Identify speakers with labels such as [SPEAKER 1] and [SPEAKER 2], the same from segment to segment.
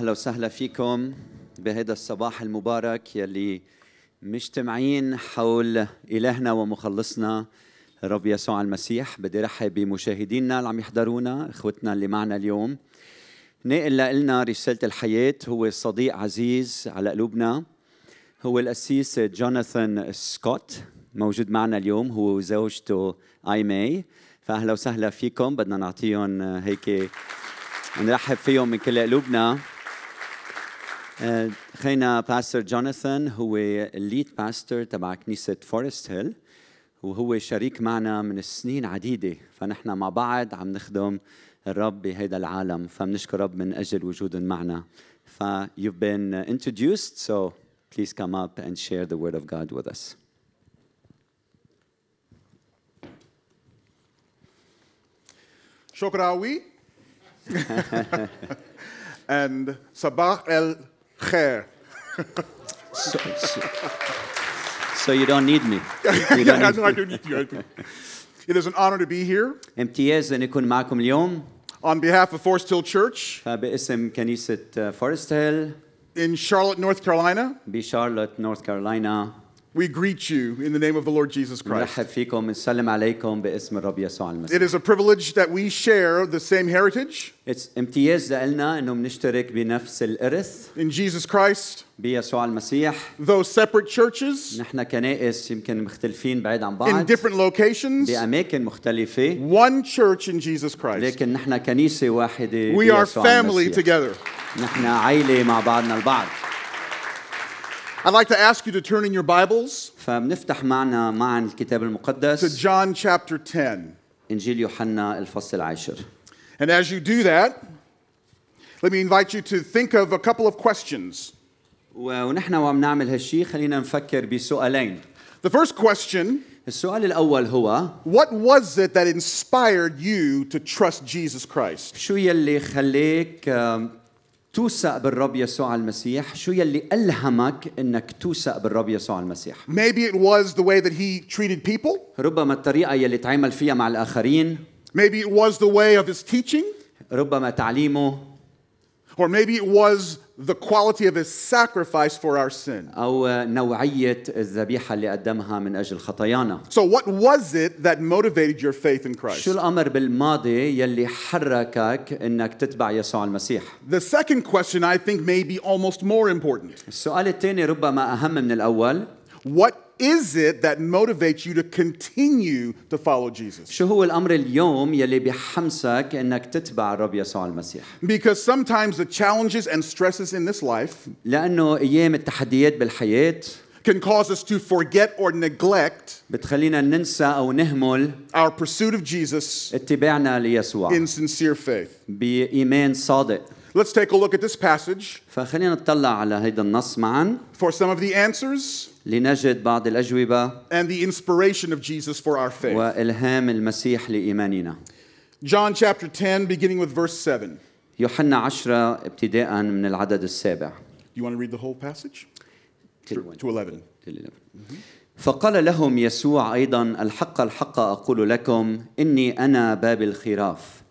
[SPEAKER 1] اهلا وسهلا فيكم بهذا الصباح المبارك يلي مجتمعين حول الهنا ومخلصنا الرب يسوع المسيح بدي رحب بمشاهدينا اللي عم يحضرونا اخوتنا اللي معنا اليوم ناقل لنا رساله الحياه هو صديق عزيز على قلوبنا هو القسيس جوناثان سكوت موجود معنا اليوم هو وزوجته اي ماي فاهلا وسهلا فيكم بدنا نعطيهم هيك نرحب فيهم من كل قلوبنا Uh, خينا باستر جوناثان هو الليد باستر تبع كنيسة فورست هيل وهو شريك معنا من سنين عديدة فنحن مع بعض عم نخدم الرب بهذا العالم فبنشكر رب من أجل وجودهم معنا ف you've been introduced so please come up and share the word of God with us
[SPEAKER 2] شكراوي and صباح الخير
[SPEAKER 1] so, so, so you don't need me You don't
[SPEAKER 2] I
[SPEAKER 1] need-
[SPEAKER 2] know I do need you. It is an honor to be here
[SPEAKER 1] امتياز أن أكون معكم اليوم
[SPEAKER 2] on behalf of Forest Hill Church
[SPEAKER 1] فباسم uh, كنيسة فورست هيل
[SPEAKER 2] in Charlotte, North Carolina.
[SPEAKER 1] بشارلوت نورث كارولاينا
[SPEAKER 2] We greet you in the name of the Lord Jesus Christ.
[SPEAKER 1] نرحب فيكم نسلم عليكم باسم الرب يسوع المسيح
[SPEAKER 2] It is a privilege that we share the same heritage
[SPEAKER 1] It's امتياز لنا انه بنشترك بنفس الارث
[SPEAKER 2] in Jesus Christ,
[SPEAKER 1] بيسوع المسيح
[SPEAKER 2] though separate churches
[SPEAKER 1] نحن كنائس يمكن مختلفين بعيد عن
[SPEAKER 2] in
[SPEAKER 1] بعض
[SPEAKER 2] different locations,
[SPEAKER 1] باماكن مختلفه
[SPEAKER 2] one church in Jesus Christ.
[SPEAKER 1] لكن نحن كنيسه واحده
[SPEAKER 2] We are
[SPEAKER 1] بيسوع
[SPEAKER 2] family
[SPEAKER 1] المسيح
[SPEAKER 2] together.
[SPEAKER 1] نحن عائله مع بعضنا البعض
[SPEAKER 2] I'd like to ask you to turn in your Bibles
[SPEAKER 1] فبنفتح معنا معا الكتاب
[SPEAKER 2] to
[SPEAKER 1] المقدس
[SPEAKER 2] John chapter 10.
[SPEAKER 1] انجيل يوحنا الفصل العاشر
[SPEAKER 2] And as you do that, let me invite you to think of a couple of questions.
[SPEAKER 1] و- ونحن وعم نعمل هالشي خلينا نفكر بسؤالين
[SPEAKER 2] The first question
[SPEAKER 1] السؤال الاول هو
[SPEAKER 2] What was it that inspired you to trust Jesus Christ?
[SPEAKER 1] شو يلي خليك آم، توثق بالرب يسوع المسيح شو يلي ألهمك أنك توثق بالرب يسوع المسيح
[SPEAKER 2] Maybe it was the way that he treated people,
[SPEAKER 1] ربما الطريقة يلي تعامل فيها مع الآخرين
[SPEAKER 2] maybe it was the way of his teaching,
[SPEAKER 1] ربما تعليمه
[SPEAKER 2] or maybe it was the quality of his sacrifice for our sin.
[SPEAKER 1] أو نوعية الذبيحة اللي قدمها من أجل خطايانا
[SPEAKER 2] So, what was it that motivated your faith in Christ?
[SPEAKER 1] شو الأمر بالماضي يلي حركك أنك تتبع يسوع المسيح
[SPEAKER 2] The second question I think may be almost more important.
[SPEAKER 1] السؤال الثاني ربما أهم من الأول
[SPEAKER 2] What is it that motivates you to continue to follow Jesus?
[SPEAKER 1] شو هو الأمر اليوم يلي بحمسك أنك تتبع الرب يسوع المسيح
[SPEAKER 2] Because sometimes the challenges and stresses in this life
[SPEAKER 1] لأنه أيام التحديات بالحياة
[SPEAKER 2] can cause us to forget or neglect
[SPEAKER 1] بتخلينا ننسى أو نهمل
[SPEAKER 2] our pursuit of Jesus
[SPEAKER 1] اتباعنا ليسوع
[SPEAKER 2] in sincere faith.
[SPEAKER 1] بإيمان صادق
[SPEAKER 2] Let's take a look at this passage
[SPEAKER 1] فخلينا نطلع على هيدا النص معا
[SPEAKER 2] for some of the answers
[SPEAKER 1] لنجد بعض الأجوبة
[SPEAKER 2] and the inspiration of Jesus for our faith.
[SPEAKER 1] وإلهام المسيح لإيماننا
[SPEAKER 2] John chapter 10, beginning with verse 7.
[SPEAKER 1] يوحنا 10 ابتداء من العدد السابع
[SPEAKER 2] You want to read the whole passage? To, to 11.
[SPEAKER 1] فقال لهم يسوع ايضا الحق الحق اقول لكم اني انا باب الخراف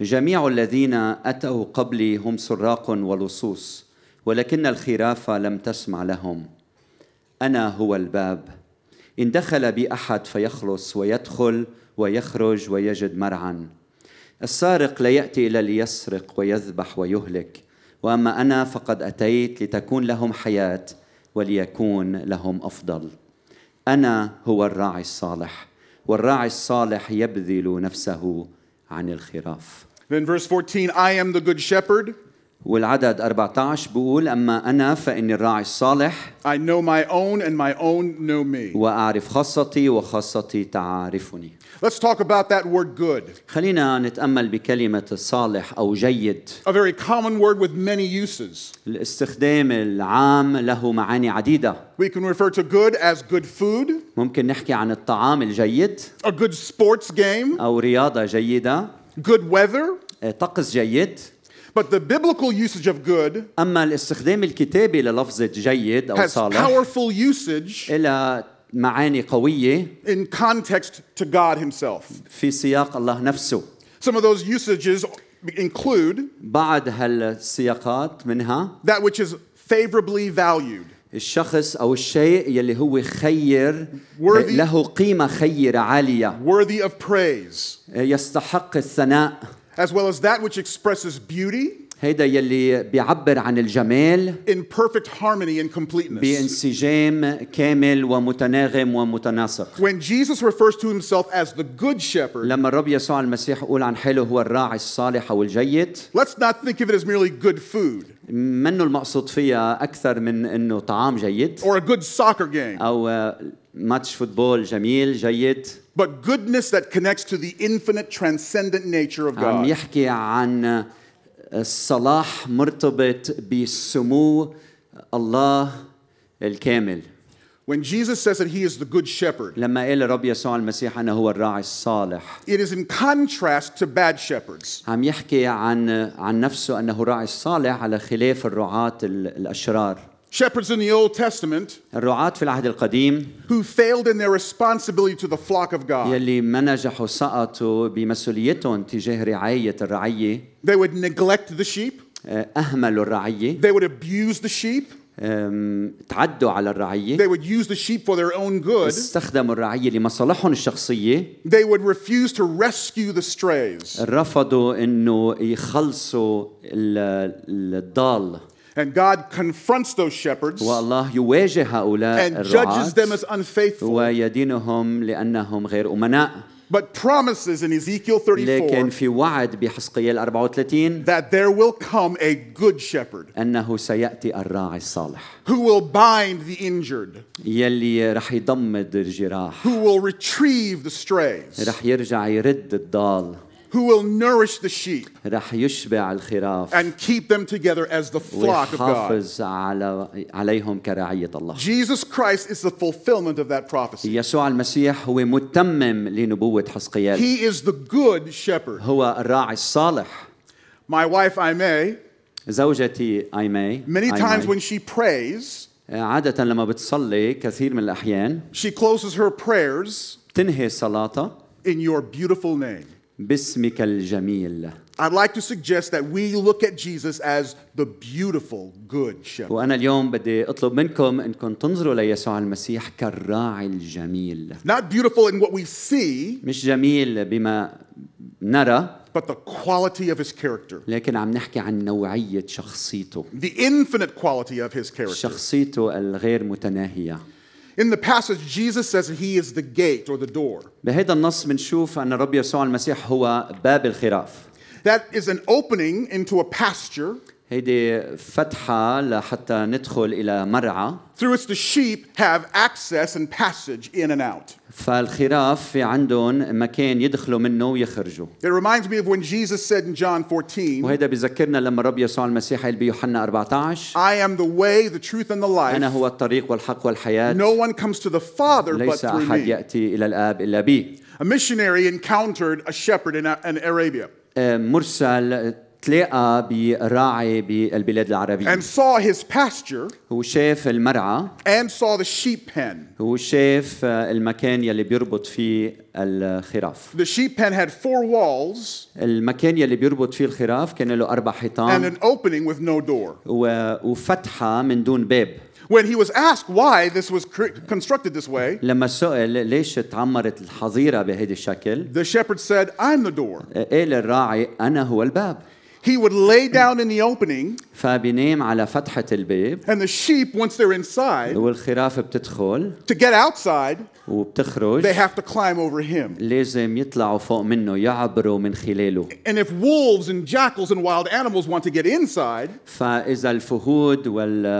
[SPEAKER 1] جميع الذين اتوا قبلي هم سراق ولصوص ولكن الخراف لم تسمع لهم انا هو الباب ان دخل بي احد فيخلص ويدخل ويخرج ويجد مرعا السارق لا ياتي الا ليسرق ويذبح ويهلك واما انا فقد اتيت لتكون لهم حياه وليكون لهم افضل انا هو الراعي الصالح والراعي الصالح يبذل نفسه عن الخراف
[SPEAKER 2] Then verse 14 I am the good shepherd.
[SPEAKER 1] والعدد 14 بقول اما انا فاني الراعي الصالح
[SPEAKER 2] I know my own, and my own know me.
[SPEAKER 1] واعرف خاصتي وخاصتي تعرفني
[SPEAKER 2] Let's talk about that word good,
[SPEAKER 1] خلينا نتأمل بكلمة صالح أو جيد
[SPEAKER 2] a very common word with many uses.
[SPEAKER 1] الاستخدام العام له معاني عديدة
[SPEAKER 2] We can refer to good as good food,
[SPEAKER 1] ممكن نحكي عن الطعام الجيد
[SPEAKER 2] a good sports game,
[SPEAKER 1] أو رياضة جيدة آه،
[SPEAKER 2] good weather.
[SPEAKER 1] طقس جيد
[SPEAKER 2] But the biblical usage of good
[SPEAKER 1] أما الاستخدام الكتابي للفظة جيد أو
[SPEAKER 2] has
[SPEAKER 1] صالح
[SPEAKER 2] powerful usage
[SPEAKER 1] إلى معاني قوية
[SPEAKER 2] in context to God Himself.
[SPEAKER 1] في سياق الله نفسه
[SPEAKER 2] Some of those usages include
[SPEAKER 1] بعض هالسياقات منها
[SPEAKER 2] that which is favorably valued.
[SPEAKER 1] الشخص أو الشيء يلي هو خير
[SPEAKER 2] Worthy.
[SPEAKER 1] له قيمة خيرة عالية آه،
[SPEAKER 2] worthy of praise,
[SPEAKER 1] يستحق الثناء
[SPEAKER 2] as well as that which expresses beauty
[SPEAKER 1] هيدا يلي بيعبر عن الجمال
[SPEAKER 2] in perfect harmony and completeness.
[SPEAKER 1] بانسجام كامل ومتناغم ومتناسق
[SPEAKER 2] When Jesus refers to himself as the good shepherd,
[SPEAKER 1] لما الرب يسوع المسيح يقول عن حاله هو الراعي الصالح او الجيد
[SPEAKER 2] let's not think of it as merely good food
[SPEAKER 1] منه المقصود فيها اكثر من انه طعام جيد
[SPEAKER 2] or a good soccer game,
[SPEAKER 1] او آه، ماتش فوتبول جميل جيد
[SPEAKER 2] but goodness that connects to the infinite, transcendent nature of
[SPEAKER 1] عم
[SPEAKER 2] God.
[SPEAKER 1] يحكي عن الصلاح مرتبط بسمو الله الكامل
[SPEAKER 2] When Jesus says that he is the good shepherd,
[SPEAKER 1] لما قال الرب يسوع المسيح انا هو الراعي الصالح
[SPEAKER 2] it is in contrast to bad shepherds.
[SPEAKER 1] عم يحكي عن عن نفسه انه راعي الصالح على خلاف الرعاة ال- الاشرار
[SPEAKER 2] Shepherds in the Old Testament
[SPEAKER 1] الرعاة في العهد القديم
[SPEAKER 2] who failed in their responsibility to the flock of God,
[SPEAKER 1] يلي ما نجحوا سقطوا بمسؤوليتهم تجاه رعاية الرعية
[SPEAKER 2] they would neglect the sheep,
[SPEAKER 1] آه، أهملوا الرعية
[SPEAKER 2] they would abuse the sheep,
[SPEAKER 1] آم، تعدوا على الرعية
[SPEAKER 2] They would use the sheep for their own good.
[SPEAKER 1] استخدموا الرعية لمصالحهم الشخصية
[SPEAKER 2] They would refuse to rescue the
[SPEAKER 1] Uh,
[SPEAKER 2] strays.
[SPEAKER 1] رفضوا انه يخلصوا ال- ال- الضال
[SPEAKER 2] And God confronts those shepherds
[SPEAKER 1] والله يواجه هؤلاء
[SPEAKER 2] and judges them as
[SPEAKER 1] الرعاة
[SPEAKER 2] unfaithful,
[SPEAKER 1] ويدينهم لأنهم غير أمناء
[SPEAKER 2] but promises in Ezekiel
[SPEAKER 1] لكن
[SPEAKER 2] 34
[SPEAKER 1] في وعد بحسقيال 34
[SPEAKER 2] that there will come a good shepherd
[SPEAKER 1] انه سياتي الراعي الصالح
[SPEAKER 2] who will bind the injured,
[SPEAKER 1] يلي رح يضمد الجراح
[SPEAKER 2] who will retrieve the strays,
[SPEAKER 1] رح يرجع يرد الضال
[SPEAKER 2] who will nourish the sheep
[SPEAKER 1] رح يشبع الخراف
[SPEAKER 2] and keep them together as the flock of God.
[SPEAKER 1] ويحافظ على عليهم كرعيه الله
[SPEAKER 2] Jesus Christ is the fulfillment of that prophecy.
[SPEAKER 1] يسوع المسيح هو متمم لنبوه حسقيال
[SPEAKER 2] He is the good shepherd.
[SPEAKER 1] هو الراعي الصالح
[SPEAKER 2] My wife, I may,
[SPEAKER 1] زوجتي ايماي
[SPEAKER 2] Many times
[SPEAKER 1] أيماي،
[SPEAKER 2] when she prays,
[SPEAKER 1] عادة لما بتصلي كثير من الأحيان
[SPEAKER 2] she closes her prayers
[SPEAKER 1] تنهي صلاتها
[SPEAKER 2] in your beautiful name.
[SPEAKER 1] باسمك الجميل
[SPEAKER 2] I'd like to suggest that we look at Jesus as the beautiful good shepherd.
[SPEAKER 1] وأنا اليوم بدي أطلب منكم أنكم تنظروا ليسوع المسيح كالراعي الجميل
[SPEAKER 2] Not beautiful in what we see,
[SPEAKER 1] مش جميل بما نرى
[SPEAKER 2] but the quality of his character,
[SPEAKER 1] لكن عم نحكي عن نوعية شخصيته
[SPEAKER 2] the infinite quality of his character.
[SPEAKER 1] شخصيته الغير متناهية
[SPEAKER 2] In the passage, Jesus says that he is the gate or the door.
[SPEAKER 1] بهذا النص بنشوف أن الرب يسوع المسيح هو باب الخراف
[SPEAKER 2] That is an opening into a pasture
[SPEAKER 1] هيدي فتحة لحتى ندخل إلى مرعى
[SPEAKER 2] through which the sheep have access and passage in and out.
[SPEAKER 1] فالخراف في عندهم مكان يدخلوا منه ويخرجوا
[SPEAKER 2] It reminds me of when Jesus said in John 14,
[SPEAKER 1] وهذا بذكرنا لما الرب يسوع المسيح قال بيوحنا 14
[SPEAKER 2] I am the way, the truth, and the
[SPEAKER 1] أنا
[SPEAKER 2] life.
[SPEAKER 1] هو الطريق والحق والحياة
[SPEAKER 2] No one comes to the Father but
[SPEAKER 1] ليس
[SPEAKER 2] through
[SPEAKER 1] أحد
[SPEAKER 2] me.
[SPEAKER 1] يأتي إلى الآب إلا بي
[SPEAKER 2] A missionary encountered a shepherd in, uh, in Arabia
[SPEAKER 1] آه، مرسل تلاقى براعي بالبلاد العربية
[SPEAKER 2] and saw his pasture
[SPEAKER 1] هو شاف المرعى
[SPEAKER 2] and saw the sheep pen.
[SPEAKER 1] هو شاف آه، المكان يلي بيربط فيه الخراف
[SPEAKER 2] The sheep pen had four walls
[SPEAKER 1] المكان يلي بيربط فيه الخراف كان له أربع
[SPEAKER 2] and
[SPEAKER 1] حيطان
[SPEAKER 2] an opening with no door.
[SPEAKER 1] و- وفتحة من دون باب
[SPEAKER 2] When he was asked why this was cr- constructed this way,
[SPEAKER 1] لما سئل ليش تعمرت الحظيرة بهيدا الشكل
[SPEAKER 2] the shepherd said, I'm the door.
[SPEAKER 1] آه، قال الراعي أنا هو الباب
[SPEAKER 2] He would lay down in the opening,
[SPEAKER 1] فبينام على فتحة الباب
[SPEAKER 2] and the sheep, once they're inside,
[SPEAKER 1] والخراف بتدخل
[SPEAKER 2] to get outside,
[SPEAKER 1] وبتخرج
[SPEAKER 2] they have to climb over him.
[SPEAKER 1] لازم يطلعوا فوق منه يعبروا من خلاله
[SPEAKER 2] And if wolves and jackals and wild animals want to get inside,
[SPEAKER 1] فإذا الفهود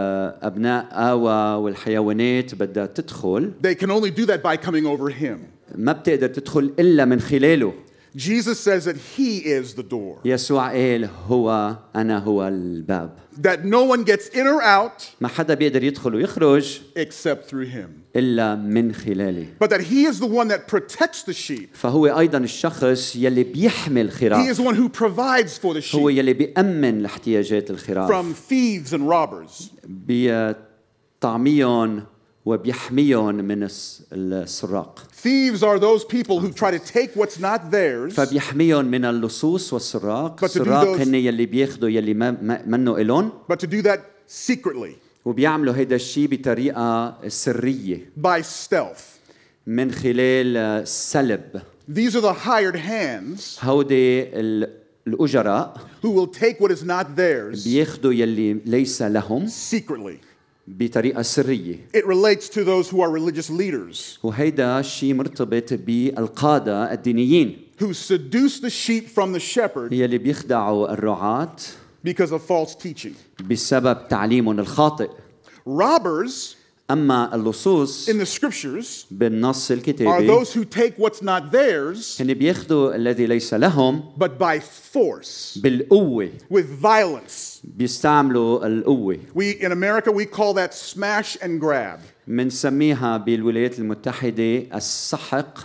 [SPEAKER 1] والأبناء آوى والحيوانات بدها تدخل
[SPEAKER 2] They can only do that by coming over him.
[SPEAKER 1] ما بتقدر تدخل إلا من خلاله
[SPEAKER 2] Jesus says that he is the door,
[SPEAKER 1] يسوع قال هو أنا هو الباب
[SPEAKER 2] that no one gets in or out
[SPEAKER 1] ما حدا بيقدر يدخل ويخرج
[SPEAKER 2] except through him,
[SPEAKER 1] إلا من خلالي
[SPEAKER 2] but that he is the one that protects the sheep.
[SPEAKER 1] فهو أيضا الشخص يلي بيحمي
[SPEAKER 2] He is
[SPEAKER 1] الخراف
[SPEAKER 2] the one who provides for the
[SPEAKER 1] هو
[SPEAKER 2] sheep
[SPEAKER 1] يلي بيأمن لاحتياجات الخراف
[SPEAKER 2] from thieves and robbers.
[SPEAKER 1] بطعميهم وبيحميهم من الس- السراق
[SPEAKER 2] Thieves are those people who try to take what's not theirs
[SPEAKER 1] فبيحميهم طيب، من اللصوص والسراق
[SPEAKER 2] But to do
[SPEAKER 1] السراق
[SPEAKER 2] those-
[SPEAKER 1] هن يلي بياخدوا يلي ما ما- منه إلهم
[SPEAKER 2] but to do that secretly
[SPEAKER 1] وبيعملوا هيدا الشيء بطريقة سرية
[SPEAKER 2] by stealth.
[SPEAKER 1] من خلال آه، سلب
[SPEAKER 2] These are the hired hands
[SPEAKER 1] هودي ال- الأجراء
[SPEAKER 2] who will take what is not theirs
[SPEAKER 1] بياخدوا يلي ليس لهم
[SPEAKER 2] secretly.
[SPEAKER 1] بطريقة سرية
[SPEAKER 2] It relates to those who are religious leaders
[SPEAKER 1] وهيدا الشيء مرتبط بالقادة الدينيين
[SPEAKER 2] who seduce the sheep from the shepherd
[SPEAKER 1] يلي بيخدعوا الرعاة
[SPEAKER 2] because of false teaching.
[SPEAKER 1] بسبب تعليمهم الخاطئ
[SPEAKER 2] Robbers
[SPEAKER 1] أما اللصوص
[SPEAKER 2] in the scriptures
[SPEAKER 1] بالنص
[SPEAKER 2] are
[SPEAKER 1] الكتابي
[SPEAKER 2] those who take what's not theirs
[SPEAKER 1] هن بياخدوا الذي ليس لهم
[SPEAKER 2] but by force
[SPEAKER 1] بالقوة
[SPEAKER 2] with violence.
[SPEAKER 1] بيستعملوا القوة
[SPEAKER 2] We in America we call that smash and grab.
[SPEAKER 1] منسميها بالولايات المتحدة السحق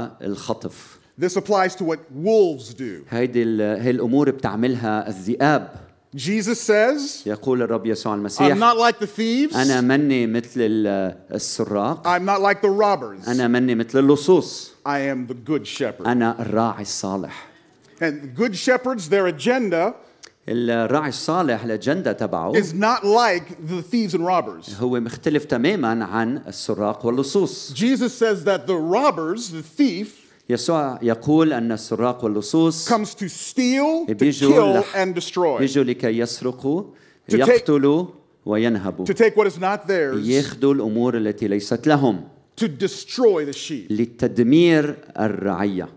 [SPEAKER 1] والخطف
[SPEAKER 2] This applies to what wolves do.
[SPEAKER 1] هيدي ال- هي الأمور بتعملها الذئاب
[SPEAKER 2] Jesus says,
[SPEAKER 1] يقول الرب يسوع المسيح
[SPEAKER 2] I'm not like the thieves.
[SPEAKER 1] أنا مني مثل ال- السراق
[SPEAKER 2] I'm not like the robbers.
[SPEAKER 1] أنا مني مثل اللصوص
[SPEAKER 2] I am the good shepherd.
[SPEAKER 1] أنا الراعي الصالح
[SPEAKER 2] And good shepherds, their agenda
[SPEAKER 1] الراعي الصالح الأجندة تبعه
[SPEAKER 2] is not like the thieves and robbers.
[SPEAKER 1] هو مختلف تماما عن السراق واللصوص
[SPEAKER 2] Jesus says that the robbers, the thief,
[SPEAKER 1] يسوع يقول أن السراق واللصوص
[SPEAKER 2] comes to steal, to
[SPEAKER 1] بيجوا
[SPEAKER 2] kill,
[SPEAKER 1] لح-
[SPEAKER 2] and destroy.
[SPEAKER 1] يجوا لكي يسرقوا
[SPEAKER 2] To take-
[SPEAKER 1] يقتلوا وينهبوا
[SPEAKER 2] To take what is not theirs,
[SPEAKER 1] ياخذوا الأمور التي ليست لهم
[SPEAKER 2] to destroy the sheep.
[SPEAKER 1] لتدمير الرعية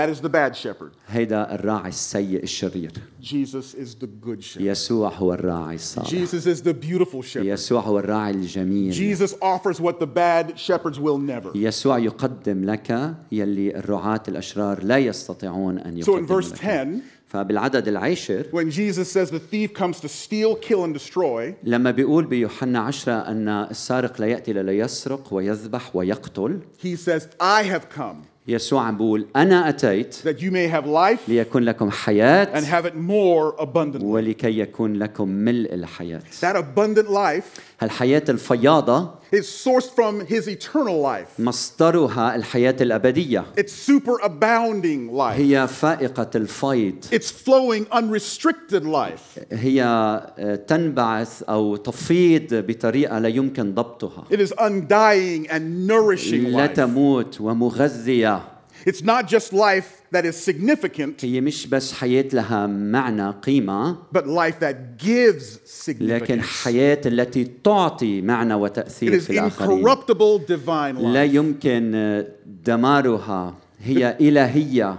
[SPEAKER 2] That is the bad shepherd.
[SPEAKER 1] هيدا الراعي السيء الشرير
[SPEAKER 2] Jesus is the good shepherd.
[SPEAKER 1] يسوع هو الراعي الصالح
[SPEAKER 2] Jesus is the beautiful shepherd.
[SPEAKER 1] يسوع هو الراعي الجميل
[SPEAKER 2] Jesus offers what the bad shepherds will never.
[SPEAKER 1] يسوع يقدم لك يلي الرعاة الأشرار لا يستطيعون أن
[SPEAKER 2] So in
[SPEAKER 1] يقدموا
[SPEAKER 2] verse
[SPEAKER 1] لك
[SPEAKER 2] 10,
[SPEAKER 1] فبالعدد العاشر
[SPEAKER 2] when Jesus says the thief comes to steal, kill, and destroy,
[SPEAKER 1] لما بيقول بيوحنا عشرة أن السارق لا يأتي للا يسرق ويذبح ويقتل
[SPEAKER 2] he says, I have come
[SPEAKER 1] يسوع عم بيقول أنا أتيت
[SPEAKER 2] that you may have life
[SPEAKER 1] ليكن لكم
[SPEAKER 2] and
[SPEAKER 1] حياة
[SPEAKER 2] have it more abundantly.
[SPEAKER 1] ولكي يكون لكم ملء الحياة
[SPEAKER 2] That abundant life
[SPEAKER 1] الحياة الفياضة
[SPEAKER 2] is sourced from his eternal life,
[SPEAKER 1] Mm. مصدرها الحياة الأبدية
[SPEAKER 2] it's superabounding life,
[SPEAKER 1] هي فائقة الفيض
[SPEAKER 2] it's flowing unrestricted life.
[SPEAKER 1] هي آه، تنبعث أو تفيض بطريقة لا يمكن ضبطها
[SPEAKER 2] It is undying and nourishing
[SPEAKER 1] لا
[SPEAKER 2] life.
[SPEAKER 1] تموت ومغذية
[SPEAKER 2] It's not just life that is significant,
[SPEAKER 1] هي مش بس حياة لها معنى قيمة
[SPEAKER 2] but life that gives
[SPEAKER 1] لكن
[SPEAKER 2] significance.
[SPEAKER 1] حياة التي تعطي معنى
[SPEAKER 2] It
[SPEAKER 1] وتأثير
[SPEAKER 2] is
[SPEAKER 1] في الآخرين
[SPEAKER 2] incorruptible divine
[SPEAKER 1] لا
[SPEAKER 2] life.
[SPEAKER 1] يمكن آه، دمارها هي إلهية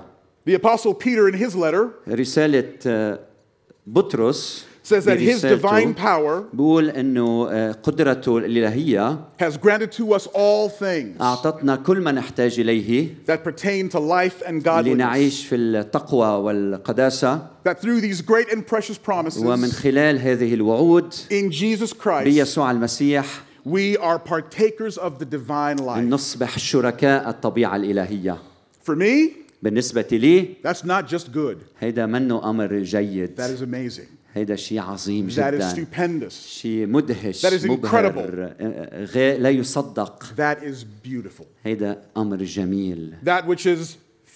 [SPEAKER 2] The Apostle Peter, in his letter,
[SPEAKER 1] رسالة آه، بطرس
[SPEAKER 2] says that his
[SPEAKER 1] برسالته
[SPEAKER 2] divine power
[SPEAKER 1] بقول انه قدرته الالهيه
[SPEAKER 2] has granted to us all things
[SPEAKER 1] اعطتنا كل ما نحتاج اليه
[SPEAKER 2] that pertain to life and godliness.
[SPEAKER 1] لنعيش في التقوى والقداسه
[SPEAKER 2] That through these great and precious
[SPEAKER 1] ومن
[SPEAKER 2] promises
[SPEAKER 1] خلال هذه الوعود
[SPEAKER 2] in Jesus Christ,
[SPEAKER 1] بيسوع المسيح
[SPEAKER 2] we are partakers of the divine life.
[SPEAKER 1] نصبح شركاء الطبيعه الالهيه
[SPEAKER 2] For me,
[SPEAKER 1] بالنسبه لي
[SPEAKER 2] that's not just good,
[SPEAKER 1] هيدا منه امر جيد
[SPEAKER 2] that is amazing.
[SPEAKER 1] هيدا شيء عظيم
[SPEAKER 2] That is
[SPEAKER 1] جدا
[SPEAKER 2] stupendous.
[SPEAKER 1] شيء مدهش
[SPEAKER 2] That is
[SPEAKER 1] مبهر غير لا يصدق
[SPEAKER 2] That is beautiful.
[SPEAKER 1] هيدا امر جميل
[SPEAKER 2] That which is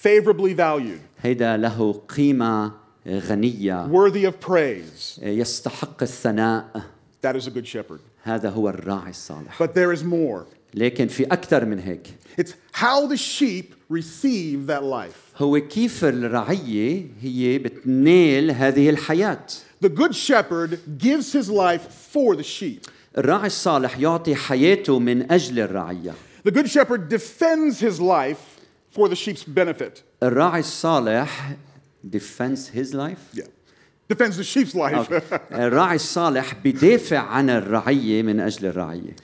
[SPEAKER 2] favorably valued,
[SPEAKER 1] هيدا له قيمه غنيه
[SPEAKER 2] worthy of praise,
[SPEAKER 1] يستحق الثناء
[SPEAKER 2] that is a good shepherd.
[SPEAKER 1] هذا هو الراعي الصالح
[SPEAKER 2] But there is more.
[SPEAKER 1] لكن في اكثر من هيك
[SPEAKER 2] It's how the sheep receive that life.
[SPEAKER 1] هو كيف الرعيه هي بتنال هذه الحياه
[SPEAKER 2] The good shepherd gives his life for the sheep.
[SPEAKER 1] الراعي الصالح يعطي حياته من اجل الرعيه
[SPEAKER 2] The good shepherd defends his life for the sheep's benefit.
[SPEAKER 1] الراعي الصالح defends his life
[SPEAKER 2] Yeah. Defends the sheep's life.
[SPEAKER 1] أوكي. الراعي الصالح بدافع عن الرعية من أجل الرعية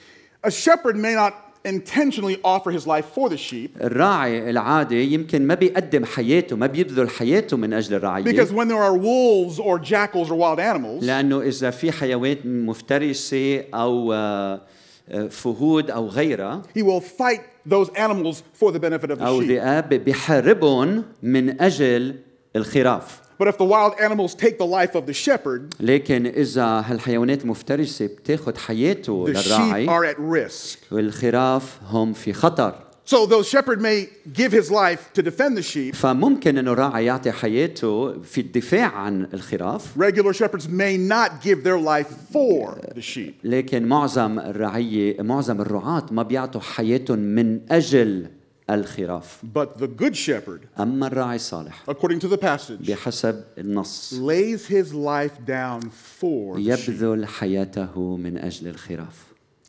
[SPEAKER 2] a shepherd may not intentionally offer his life for the sheep
[SPEAKER 1] الراعي العادي يمكن ما بيقدم حياته ما بيبذل حياته من أجل الرعية
[SPEAKER 2] because when there are wolves or jackals or wild animals,
[SPEAKER 1] لأنه إذا في حيوانات مفترسة أو آه، آه، فهود أو غيرها
[SPEAKER 2] he will fight Oh, those animals for the benefit of the
[SPEAKER 1] أو
[SPEAKER 2] sheep.
[SPEAKER 1] ذئاب بيحاربهم من أجل الخراف
[SPEAKER 2] But if the wild animals take the life of the shepherd,
[SPEAKER 1] لكن إذا هالحيوانات المفترسة بتاخد حياته
[SPEAKER 2] the sheep
[SPEAKER 1] للراعي
[SPEAKER 2] are at risk.
[SPEAKER 1] والخراف هم في خطر
[SPEAKER 2] So though shepherd may give his life to defend the sheep,
[SPEAKER 1] فممكن انه الراعي يعطي حياته في الدفاع عن الخراف
[SPEAKER 2] regular shepherds may not give their life for the sheep.
[SPEAKER 1] لكن معظم الرعية معظم الرعاة ما بيعطوا حياتهم من أجل الخراف
[SPEAKER 2] But the good shepherd,
[SPEAKER 1] أما الراعي الصالح
[SPEAKER 2] according to the passage,
[SPEAKER 1] بحسب النص
[SPEAKER 2] lays his life down for the sheep.
[SPEAKER 1] يبذل حياته من أجل الخراف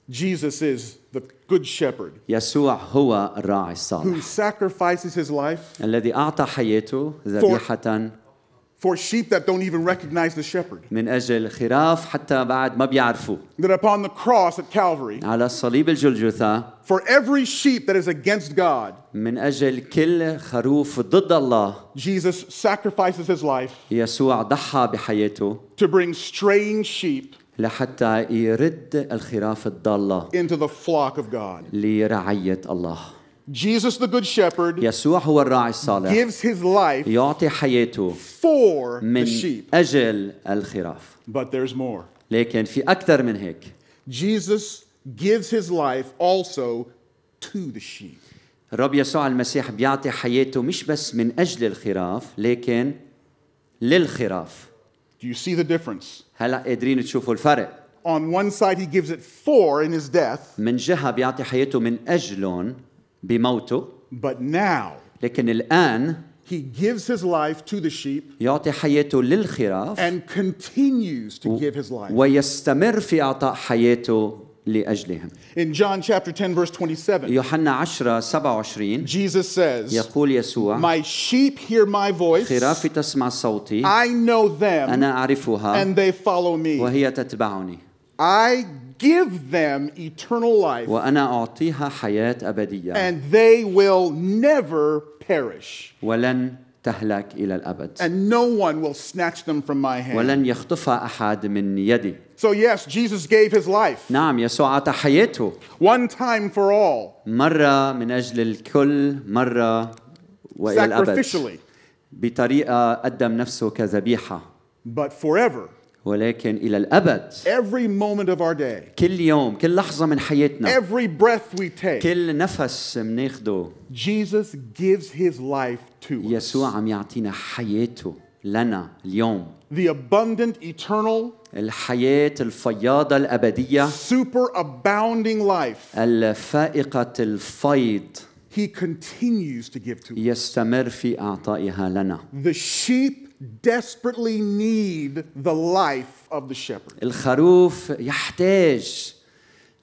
[SPEAKER 2] Jesus is the good shepherd
[SPEAKER 1] يسوع هو الراعي
[SPEAKER 2] who
[SPEAKER 1] الصالح
[SPEAKER 2] sacrifices his life
[SPEAKER 1] الذي أعطى حياته ذبيحة
[SPEAKER 2] for sheep that don't even recognize the shepherd.
[SPEAKER 1] من أجل خراف حتى بعد ما بيعرفوه
[SPEAKER 2] That upon the cross at Calvary,
[SPEAKER 1] على صليب الجلجثة
[SPEAKER 2] for every sheep that is against God,
[SPEAKER 1] من أجل كل خروف ضد الله
[SPEAKER 2] Jesus sacrifices his life
[SPEAKER 1] يسوع ضحى بحياته
[SPEAKER 2] to bring straying sheep
[SPEAKER 1] لحتى يرد الخراف الضالة
[SPEAKER 2] into the flock of God.
[SPEAKER 1] لرعية الله
[SPEAKER 2] Jesus, the good shepherd,
[SPEAKER 1] يسوع هو الراعي الصالح
[SPEAKER 2] gives his life
[SPEAKER 1] يعطي حياته
[SPEAKER 2] for
[SPEAKER 1] من
[SPEAKER 2] the sheep.
[SPEAKER 1] أجل الخراف
[SPEAKER 2] But there's more.
[SPEAKER 1] لكن في أكثر من هيك
[SPEAKER 2] Jesus gives his life also to the sheep.
[SPEAKER 1] الرب يسوع المسيح بيعطي حياته مش بس من أجل الخراف لكن للخراف
[SPEAKER 2] Do you see the difference?
[SPEAKER 1] هلا قادرين تشوفوا الفرق
[SPEAKER 2] On one side, he gives it for in his death,
[SPEAKER 1] من جهة بيعطي حياته من أجلهم بموته
[SPEAKER 2] but now
[SPEAKER 1] لكن الآن
[SPEAKER 2] he gives his life to the sheep
[SPEAKER 1] يعطي حياته للخراف
[SPEAKER 2] and continues to give his life.
[SPEAKER 1] ويستمر في إعطاء حياته لأجلهم
[SPEAKER 2] In John chapter 10, verse 27,
[SPEAKER 1] يوحنا 10 27
[SPEAKER 2] Jesus says,
[SPEAKER 1] يقول يسوع
[SPEAKER 2] My sheep hear my voice,
[SPEAKER 1] خرافي تسمع صوتي
[SPEAKER 2] I know them,
[SPEAKER 1] أنا أعرفها
[SPEAKER 2] and they follow me.
[SPEAKER 1] وهي تتبعني
[SPEAKER 2] I give them eternal life,
[SPEAKER 1] وأنا أعطيها حياة أبدية
[SPEAKER 2] and they will never perish,
[SPEAKER 1] ولن تهلك إلى الأبد
[SPEAKER 2] and no one will snatch them from my hand.
[SPEAKER 1] ولن يخطفها أحد من يدي
[SPEAKER 2] So, yes, Jesus gave his life
[SPEAKER 1] نعم يسوع أعطى حياته
[SPEAKER 2] one time for all,
[SPEAKER 1] مرة من أجل الكل مرة وإلى الأبد
[SPEAKER 2] sacrificially,
[SPEAKER 1] بطريقة قدم نفسه كذبيحة
[SPEAKER 2] but forever,
[SPEAKER 1] ولكن إلى الأبد
[SPEAKER 2] every moment of our day,
[SPEAKER 1] كل يوم كل لحظة من حياتنا
[SPEAKER 2] every breath we take.
[SPEAKER 1] كل نفس مناخده
[SPEAKER 2] Jesus gives his life to us.
[SPEAKER 1] يسوع عم يعطينا حياته لنا اليوم
[SPEAKER 2] The abundant, eternal,
[SPEAKER 1] الحياة الفياضة الأبدية
[SPEAKER 2] super abounding life
[SPEAKER 1] الفائقة الفيض
[SPEAKER 2] he continues to give to us.
[SPEAKER 1] يستمر في أعطائها لنا
[SPEAKER 2] The sheep desperately need the life of the shepherd.
[SPEAKER 1] الخروف يحتاج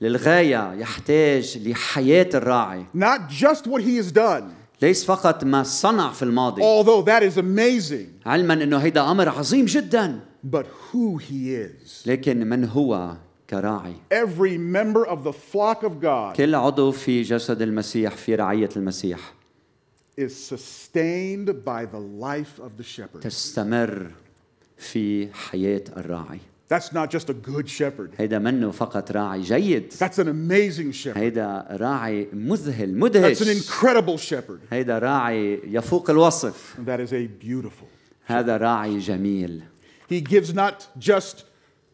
[SPEAKER 1] للغاية يحتاج لحياة الراعي
[SPEAKER 2] Not just what he has done,
[SPEAKER 1] ليس فقط ما صنع في الماضي
[SPEAKER 2] although that is amazing,
[SPEAKER 1] علما أنه هيدا أمر عظيم جدا
[SPEAKER 2] but who he is.
[SPEAKER 1] لكن من هو كراعي
[SPEAKER 2] Every member of the flock of God
[SPEAKER 1] كل عضو في جسد المسيح في رعية المسيح
[SPEAKER 2] is sustained by the life of the shepherd.
[SPEAKER 1] تستمر في حياة الراعي
[SPEAKER 2] That's not just a good shepherd,
[SPEAKER 1] هيدا منه فقط راعي جيد
[SPEAKER 2] that's an amazing shepherd.
[SPEAKER 1] هيدا راعي مذهل
[SPEAKER 2] That's an
[SPEAKER 1] مدهش
[SPEAKER 2] incredible shepherd.
[SPEAKER 1] هيدا راعي يفوق الوصف
[SPEAKER 2] And that is a beautiful.
[SPEAKER 1] هذا راعي جميل
[SPEAKER 2] He gives not just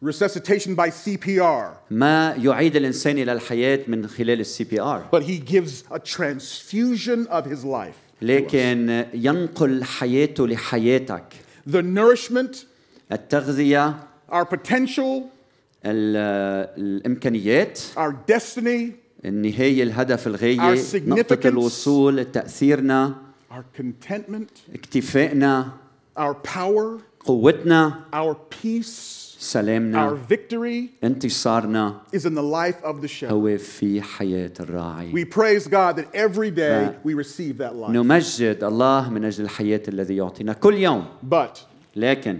[SPEAKER 2] resuscitation by CPR,
[SPEAKER 1] ما يعيد الانسان الى الحياه من خلال السي بي ار
[SPEAKER 2] but he gives a transfusion of his life.
[SPEAKER 1] لكن ينقل حياته لحياتك
[SPEAKER 2] The nourishment,
[SPEAKER 1] التغذيه
[SPEAKER 2] our potential,
[SPEAKER 1] ال- الامكانيات
[SPEAKER 2] our destiny,
[SPEAKER 1] النهايه الهدف
[SPEAKER 2] Our
[SPEAKER 1] الغايه
[SPEAKER 2] significance.
[SPEAKER 1] نقطه الوصول تاثيرنا
[SPEAKER 2] our contentment,
[SPEAKER 1] اكتفائنا
[SPEAKER 2] our power,
[SPEAKER 1] قوتنا
[SPEAKER 2] our peace, our
[SPEAKER 1] سلامنا
[SPEAKER 2] victory
[SPEAKER 1] انتصارنا
[SPEAKER 2] is in the life of the shepherd.
[SPEAKER 1] هو في حياه الراعي
[SPEAKER 2] We praise God that every day
[SPEAKER 1] Oh. Right.
[SPEAKER 2] we receive that life.
[SPEAKER 1] نمجد الله من اجل الحياه الذي يعطينا كل يوم
[SPEAKER 2] But
[SPEAKER 1] لكن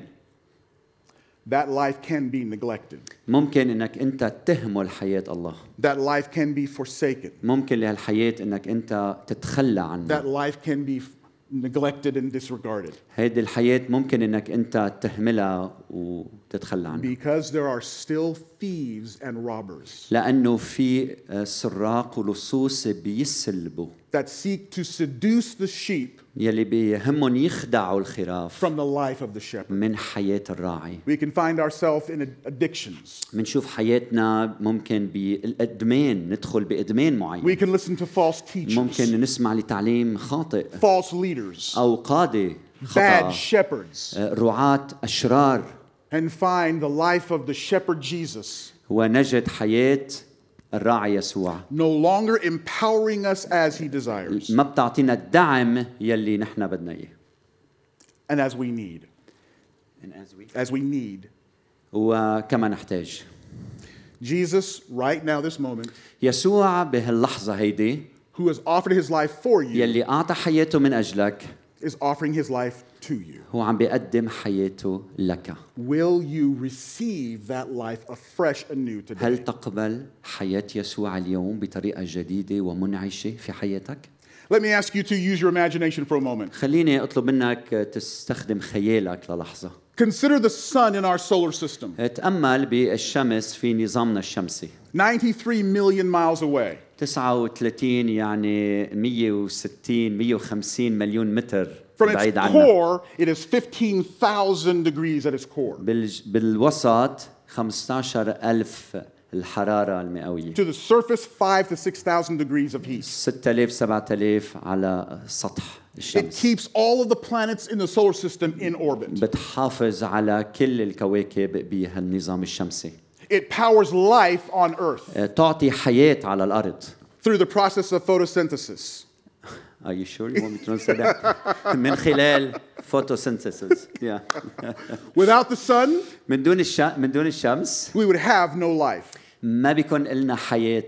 [SPEAKER 2] that life can be neglected.
[SPEAKER 1] ممكن انك انت تهمل حياه الله
[SPEAKER 2] That life can be forsaken.
[SPEAKER 1] ممكن لهالحياة انك انت تتخلى عنها
[SPEAKER 2] That life can be f- neglected and disregarded.
[SPEAKER 1] هيدي الحياة ممكن انك انت تهملها و... تتخلى عنه
[SPEAKER 2] because there are still thieves and robbers
[SPEAKER 1] لأنه في آه، سراق ولصوص بيسلبوا
[SPEAKER 2] that seek to seduce the sheep
[SPEAKER 1] يلي بيهمهم يخدعوا الخراف
[SPEAKER 2] from the life of the shepherd.
[SPEAKER 1] من حياة الراعي
[SPEAKER 2] We can find ourselves in addictions.
[SPEAKER 1] منشوف حياتنا ممكن بالإدمان ندخل بإدمان
[SPEAKER 2] We
[SPEAKER 1] معين
[SPEAKER 2] can listen to false teachers,
[SPEAKER 1] ممكن نسمع لتعليم خاطئ
[SPEAKER 2] false leaders,
[SPEAKER 1] أو قادة
[SPEAKER 2] bad
[SPEAKER 1] خطأ
[SPEAKER 2] shepherds,
[SPEAKER 1] آه، رعاة أشرار
[SPEAKER 2] and find the life of the shepherd Jesus
[SPEAKER 1] ونجد حياة الراعي يسوع
[SPEAKER 2] no longer empowering us as he desires
[SPEAKER 1] ما بتعطينا الدعم يلي نحن بدنا إياه
[SPEAKER 2] and as we need, as we need.
[SPEAKER 1] وكما نحتاج
[SPEAKER 2] Jesus, right now, this moment,
[SPEAKER 1] يسوع بهاللحظة هيدي
[SPEAKER 2] who has offered his life for you,
[SPEAKER 1] يلي أعطى حياته من أجلك
[SPEAKER 2] is offering his life to you.
[SPEAKER 1] هو عم بيقدم حياته لك
[SPEAKER 2] Will you receive that life afresh anew today?
[SPEAKER 1] هل تقبل حياة يسوع اليوم بطريقة جديدة ومنعشة في حياتك؟
[SPEAKER 2] Let me ask you to use your imagination for a moment.
[SPEAKER 1] خليني أطلب منك تستخدم خيالك للحظة
[SPEAKER 2] Consider the sun in our solar system,
[SPEAKER 1] تأمل بالشمس في نظامنا الشمسي
[SPEAKER 2] 93 million miles away.
[SPEAKER 1] 39 يعني 160 150 مليون متر
[SPEAKER 2] From its
[SPEAKER 1] بعيد عنا
[SPEAKER 2] core, it is 15,000 degrees at its core.
[SPEAKER 1] بالج- بالوسط 15 ألف الحرارة المئوية
[SPEAKER 2] To the surface, 5 to 6,000 degrees of heat.
[SPEAKER 1] 6000 7000 على سطح
[SPEAKER 2] It
[SPEAKER 1] الشمس
[SPEAKER 2] keeps all of the planets in the solar system in orbit.
[SPEAKER 1] بتحافظ على كل الكواكب بهالنظام الشمسي
[SPEAKER 2] It powers life on Earth
[SPEAKER 1] أه، تعطي حياة على الأرض
[SPEAKER 2] through the process of photosynthesis.
[SPEAKER 1] Are you sure you want me to translate that? من خلال photosynthesis yeah.
[SPEAKER 2] Without the sun,
[SPEAKER 1] من دون الش... من دون الشمس
[SPEAKER 2] we would have no life.
[SPEAKER 1] ما بيكون إلنا حياة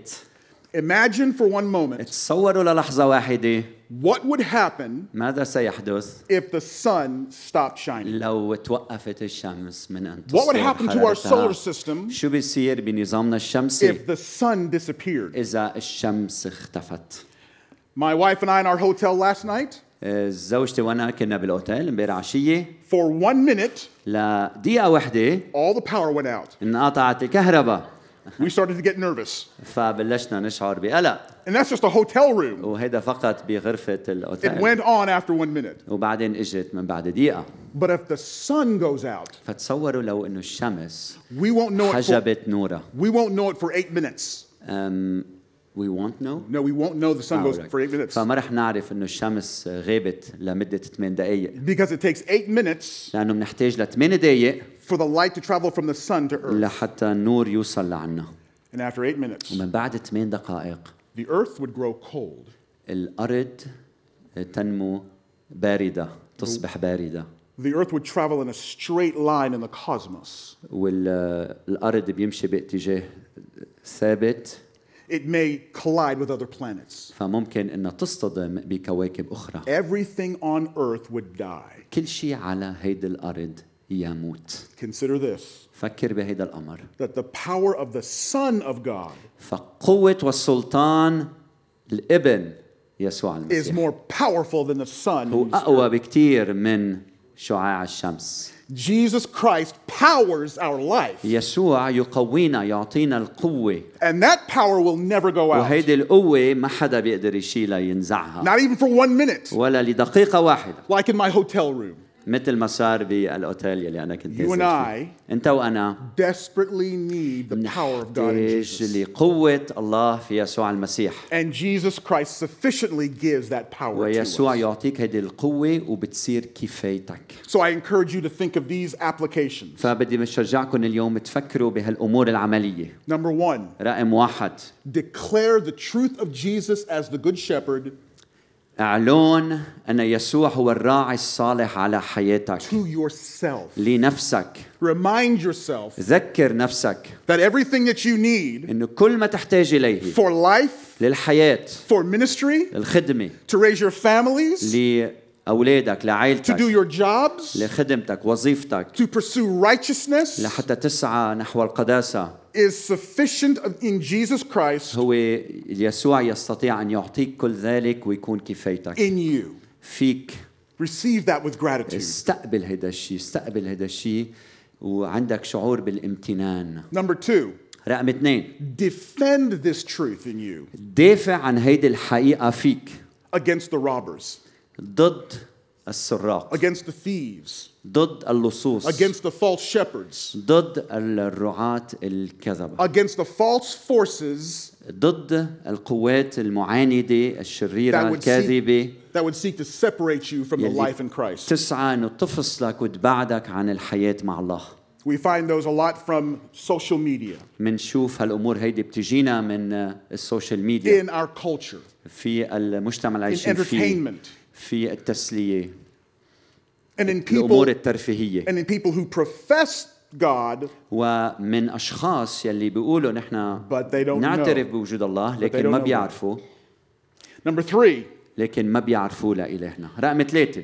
[SPEAKER 2] Imagine for one moment
[SPEAKER 1] تصوروا للحظة واحدة
[SPEAKER 2] what would happen
[SPEAKER 1] ماذا سيحدث
[SPEAKER 2] if the sun stopped shining.
[SPEAKER 1] لو توقفت الشمس من أن
[SPEAKER 2] What would
[SPEAKER 1] تصدر
[SPEAKER 2] happen to our solar
[SPEAKER 1] حرارتها؟
[SPEAKER 2] system
[SPEAKER 1] شو بيصير بنظامنا الشمسي
[SPEAKER 2] if the sun disappeared?
[SPEAKER 1] إذا الشمس اختفت؟
[SPEAKER 2] My wife and I in our hotel last night,
[SPEAKER 1] آه، زوجتي وأنا كنا بالأوتيل امبارح عشية
[SPEAKER 2] for one minute,
[SPEAKER 1] لدقيقة واحدة
[SPEAKER 2] all the power went out.
[SPEAKER 1] انقطعت الكهرباء
[SPEAKER 2] We started to get nervous.
[SPEAKER 1] فبلشنا نشعر بقلق
[SPEAKER 2] And that's just a hotel room.
[SPEAKER 1] وهيدا فقط بغرفة
[SPEAKER 2] It
[SPEAKER 1] الأوتيل
[SPEAKER 2] went on after one minute.
[SPEAKER 1] وبعدين اجت من بعد دقيقة
[SPEAKER 2] But if the sun goes out,
[SPEAKER 1] فتصوروا لو انه الشمس
[SPEAKER 2] we won't know it for,
[SPEAKER 1] حجبت نورها
[SPEAKER 2] we won't know it for eight minutes.
[SPEAKER 1] أم we won't know
[SPEAKER 2] No, we won't know the sun goes for eight minutes.
[SPEAKER 1] فما رح نعرف انه الشمس غابت لمدة 8 دقائق
[SPEAKER 2] Because it takes eight minutes
[SPEAKER 1] لانه بنحتاج ل 8 دقائق
[SPEAKER 2] for the light to travel from the sun to earth.
[SPEAKER 1] لحتى النور يوصل لعنا
[SPEAKER 2] And after eight minutes,
[SPEAKER 1] ومن بعد 8 دقائق
[SPEAKER 2] the earth would grow cold.
[SPEAKER 1] الارض تنمو باردة تصبح باردة
[SPEAKER 2] The earth would travel in a straight line in the cosmos.
[SPEAKER 1] والارض بيمشي باتجاه ثابت
[SPEAKER 2] It may collide with other planets.
[SPEAKER 1] فممكن انها تصطدم بكواكب اخرى
[SPEAKER 2] Everything on earth would die.
[SPEAKER 1] كل شيء على هيدي الارض يموت
[SPEAKER 2] Consider this
[SPEAKER 1] فكر بهيدا الامر
[SPEAKER 2] that the power of the Son of God
[SPEAKER 1] فقوة والسلطان الابن يسوع
[SPEAKER 2] is
[SPEAKER 1] المسيح
[SPEAKER 2] more powerful than the
[SPEAKER 1] هو
[SPEAKER 2] sun.
[SPEAKER 1] اقوى بكتير من شعاع الشمس
[SPEAKER 2] Jesus Christ powers our life,
[SPEAKER 1] يسوع يقوينا يعطينا القوة
[SPEAKER 2] and that power will never go out,
[SPEAKER 1] وهيدي القوة ما حدا بيقدر يشيلها ينزعها
[SPEAKER 2] not even for one minute,
[SPEAKER 1] ولا لدقيقة واحدة
[SPEAKER 2] like in my hotel room.
[SPEAKER 1] مثل ما صار بالاوتيل يلي انا كنت
[SPEAKER 2] You and
[SPEAKER 1] نازل فيه. انت وانا
[SPEAKER 2] Desperately need the power of God in Jesus.
[SPEAKER 1] نحتاج لقوة الله في يسوع المسيح
[SPEAKER 2] And Jesus Christ sufficiently gives that power to us.
[SPEAKER 1] ويسوع يعطيك هذه القوة وبتصير كفايتك
[SPEAKER 2] So I encourage you to think of these applications.
[SPEAKER 1] فبدي بشجعكم اليوم تفكروا بهالأمور العملية
[SPEAKER 2] Number one,
[SPEAKER 1] رقم واحد
[SPEAKER 2] declare the truth of Jesus as the Good Shepherd
[SPEAKER 1] اعلن أن يسوع هو الراعي الصالح على حياتك
[SPEAKER 2] to yourself.
[SPEAKER 1] لنفسك
[SPEAKER 2] Remind yourself
[SPEAKER 1] ذكر نفسك
[SPEAKER 2] that everything that you need
[SPEAKER 1] انه كل ما تحتاج اليه
[SPEAKER 2] for life,
[SPEAKER 1] للحياة
[SPEAKER 2] for ministry,
[SPEAKER 1] للخدمة
[SPEAKER 2] to raise your families,
[SPEAKER 1] لأولادك
[SPEAKER 2] to do
[SPEAKER 1] لعائلتك
[SPEAKER 2] your jobs,
[SPEAKER 1] لخدمتك وظيفتك
[SPEAKER 2] to pursue righteousness
[SPEAKER 1] لحتى تسعى نحو القداسة
[SPEAKER 2] is sufficient in Jesus Christ
[SPEAKER 1] هو يسوع يستطيع أن يعطيك كل ذلك ويكون كفايتك
[SPEAKER 2] in you.
[SPEAKER 1] فيك
[SPEAKER 2] Receive that with gratitude.
[SPEAKER 1] استقبل هيدا الشيء استقبل هيدا الشيء وعندك شعور بالامتنان
[SPEAKER 2] Number two,
[SPEAKER 1] رقم اثنين
[SPEAKER 2] defend this truth in you
[SPEAKER 1] دافع عن هيدي الحقيقة فيك
[SPEAKER 2] against the robbers,
[SPEAKER 1] ضد السراق
[SPEAKER 2] against the thieves,
[SPEAKER 1] ضد اللصوص
[SPEAKER 2] against the false shepherds,
[SPEAKER 1] ضد الرعاة الكذبة
[SPEAKER 2] against the false forces
[SPEAKER 1] ضد القوات المعاندة الشريرة
[SPEAKER 2] that would,
[SPEAKER 1] الكاذبة
[SPEAKER 2] seek, that would seek to separate you from the
[SPEAKER 1] يلي
[SPEAKER 2] life in Christ.
[SPEAKER 1] تسعى انه تفصلك وتبعدك عن الحياة مع الله
[SPEAKER 2] We find those a lot from social media,
[SPEAKER 1] منشوف هالامور هيدي بتجينا من آه، السوشيال ميديا
[SPEAKER 2] in our culture,
[SPEAKER 1] في المجتمع اللي
[SPEAKER 2] in
[SPEAKER 1] عايشين فيه
[SPEAKER 2] entertainment,
[SPEAKER 1] في التسلية
[SPEAKER 2] and in people
[SPEAKER 1] الامور الترفيهية
[SPEAKER 2] and in people who profess God
[SPEAKER 1] ومن اشخاص يلي بيقولوا نحن
[SPEAKER 2] But they don't
[SPEAKER 1] نعترف
[SPEAKER 2] know.
[SPEAKER 1] بوجود الله
[SPEAKER 2] they
[SPEAKER 1] لكن
[SPEAKER 2] don't
[SPEAKER 1] ما
[SPEAKER 2] know.
[SPEAKER 1] بيعرفوا
[SPEAKER 2] Number three,
[SPEAKER 1] لكن ما بيعرفوا لإلهنا رقم ثلاثة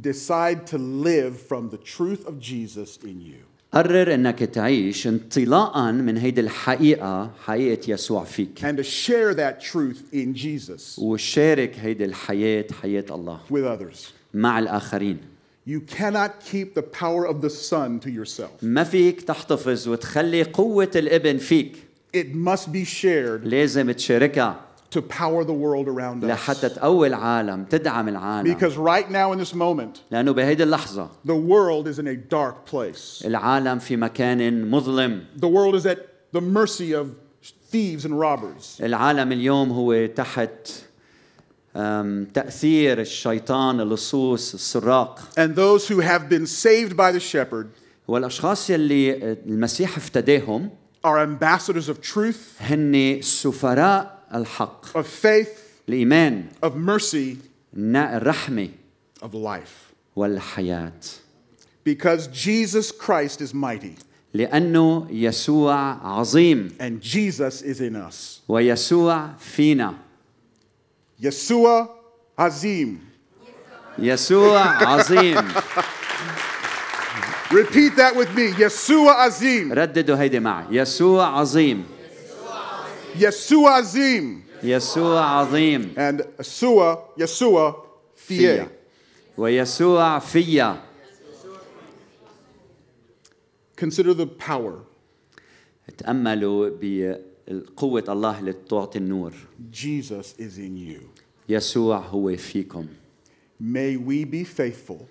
[SPEAKER 2] decide to live from the truth of Jesus in you.
[SPEAKER 1] قرر انك تعيش انطلاقا من هيدي الحقيقه حقيقه يسوع فيك
[SPEAKER 2] and to share that truth in Jesus
[SPEAKER 1] وشارك هيدي الحياه حياه الله
[SPEAKER 2] with others.
[SPEAKER 1] مع الاخرين
[SPEAKER 2] You cannot keep the power of the Son to yourself.
[SPEAKER 1] ما فيك تحتفظ وتخلي قوه الابن فيك
[SPEAKER 2] It must be shared
[SPEAKER 1] لازم تشاركها
[SPEAKER 2] to power the world around us.
[SPEAKER 1] لحتى تقوي العالم تدعم العالم
[SPEAKER 2] Because right now in this moment,
[SPEAKER 1] لانه بهيدي اللحظه
[SPEAKER 2] the world is in a dark place.
[SPEAKER 1] العالم في مكان مظلم
[SPEAKER 2] The world is at the mercy of thieves and robbers.
[SPEAKER 1] العالم اليوم هو تحت أم، تاثير الشيطان اللصوص السراق
[SPEAKER 2] And those who have been saved by the shepherd
[SPEAKER 1] والاشخاص يلي المسيح افتداهم
[SPEAKER 2] are ambassadors of truth,
[SPEAKER 1] هن سفراء الحق
[SPEAKER 2] of faith,
[SPEAKER 1] الايمان
[SPEAKER 2] of mercy,
[SPEAKER 1] النا- الرحمه
[SPEAKER 2] of life.
[SPEAKER 1] والحياه
[SPEAKER 2] Because Jesus Christ is mighty
[SPEAKER 1] لانه يسوع عظيم
[SPEAKER 2] and Jesus is in us.
[SPEAKER 1] ويسوع فينا
[SPEAKER 2] Yeshua Hazim.
[SPEAKER 1] يسوع عظيم
[SPEAKER 2] Repeat that with me. Yeshua Azim.
[SPEAKER 1] رددوا هيدي معي يسوع عظيم
[SPEAKER 2] Yeshua Azim.
[SPEAKER 1] يسوع عظيم
[SPEAKER 2] And Yeshua, Yeshua, Fie.
[SPEAKER 1] فيا ويسوع فيا
[SPEAKER 2] Consider the power
[SPEAKER 1] تاملوا بقوه الله اللي بتعطي النور
[SPEAKER 2] Jesus is in you.
[SPEAKER 1] يسوع هو فيكم
[SPEAKER 2] May we be faithful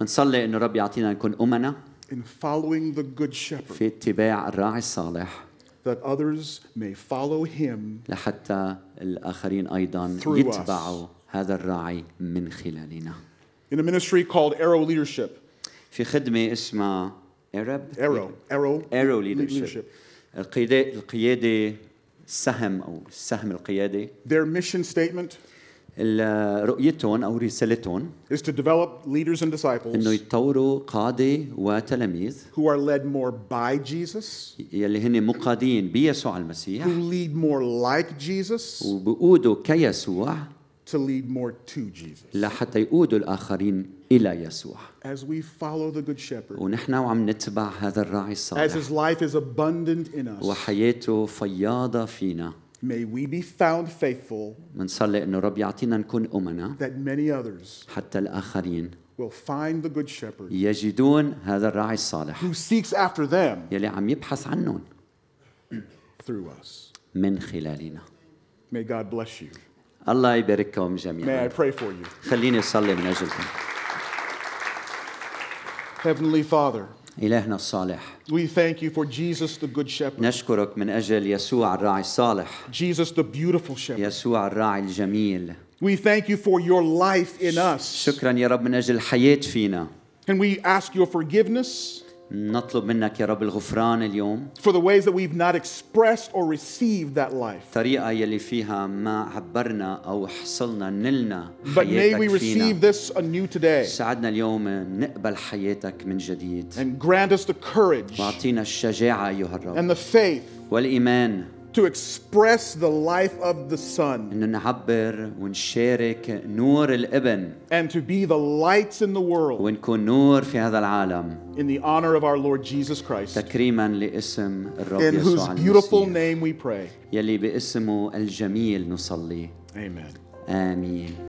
[SPEAKER 1] بنصلي انه رب يعطينا نكون امنا
[SPEAKER 2] in following the Good Shepherd,
[SPEAKER 1] في اتباع الراعي الصالح
[SPEAKER 2] that others may follow him
[SPEAKER 1] لحتى الآخرين أيضا
[SPEAKER 2] Through us.
[SPEAKER 1] يتبعوا هذا الراعي من خلالنا
[SPEAKER 2] in a ministry called Arrow Leadership.
[SPEAKER 1] في خدمة اسمها Arab
[SPEAKER 2] Arrow. Arrow.
[SPEAKER 1] Arrow
[SPEAKER 2] Le-
[SPEAKER 1] Leadership القيادة القيادة السهم أو السهم القيادي
[SPEAKER 2] Their mission statement
[SPEAKER 1] ال- رؤيتهم أو رسالتهم
[SPEAKER 2] is to develop leaders and
[SPEAKER 1] إنه
[SPEAKER 2] disciples
[SPEAKER 1] يتطوروا قادة وتلاميذ
[SPEAKER 2] who are led more by Jesus
[SPEAKER 1] يلي هن مقادين بيسوع المسيح
[SPEAKER 2] who lead more like Jesus
[SPEAKER 1] وبقودوا كيسوع
[SPEAKER 2] to lead more to Jesus.
[SPEAKER 1] لحتى يقودوا الآخرين إلى يسوع
[SPEAKER 2] As we follow the Good Shepherd,
[SPEAKER 1] ونحن وعم نتبع هذا الراعي
[SPEAKER 2] as
[SPEAKER 1] الصالح
[SPEAKER 2] his life is abundant in us,
[SPEAKER 1] وحياته فياضة فينا
[SPEAKER 2] may we be found faithful
[SPEAKER 1] منصلي انه رب يعطينا نكون امنا
[SPEAKER 2] that many others
[SPEAKER 1] حتى الاخرين
[SPEAKER 2] will find the Good Shepherd
[SPEAKER 1] يجدون هذا الراعي الصالح
[SPEAKER 2] who seeks after them
[SPEAKER 1] يلي عم يبحث عنهم
[SPEAKER 2] through us.
[SPEAKER 1] من خلالنا
[SPEAKER 2] May God bless you.
[SPEAKER 1] الله يبارككم
[SPEAKER 2] May I
[SPEAKER 1] جميعا
[SPEAKER 2] pray for you.
[SPEAKER 1] خليني اصلي من اجلكم
[SPEAKER 2] Heavenly Father,
[SPEAKER 1] الهنا الصالح
[SPEAKER 2] we thank you for Jesus, the Good Shepherd,
[SPEAKER 1] نشكرك من اجل يسوع الراعي الصالح
[SPEAKER 2] Jesus, the beautiful Shepherd.
[SPEAKER 1] يسوع الراعي الجميل
[SPEAKER 2] We thank you for your life in us.
[SPEAKER 1] شكرا يا رب من اجل الحياة فينا
[SPEAKER 2] And we ask your forgiveness
[SPEAKER 1] نطلب منك يا رب الغفران اليوم
[SPEAKER 2] for the ways that we've not expressed or received that life.
[SPEAKER 1] الطريقة يلي فيها ما عبرنا أو حصلنا نلنا
[SPEAKER 2] But may we
[SPEAKER 1] حياتك
[SPEAKER 2] receive
[SPEAKER 1] فينا
[SPEAKER 2] this anew today
[SPEAKER 1] ساعدنا اليوم نقبل حياتك من جديد
[SPEAKER 2] and grant us the courage
[SPEAKER 1] واعطينا الشجاعة أيها الرب
[SPEAKER 2] and the faith
[SPEAKER 1] والإيمان
[SPEAKER 2] to express the life of the Son
[SPEAKER 1] أنه نعبر ونشارك نور الابن
[SPEAKER 2] and to be the lights in the world
[SPEAKER 1] ونكون نور في هذا العالم
[SPEAKER 2] in the honor of our Lord Jesus Christ,
[SPEAKER 1] تكريما لاسم الرب
[SPEAKER 2] in whose
[SPEAKER 1] يسوع
[SPEAKER 2] beautiful
[SPEAKER 1] المسيح
[SPEAKER 2] name we pray.
[SPEAKER 1] يلي باسمه الجميل نصلي
[SPEAKER 2] Amen.
[SPEAKER 1] آمين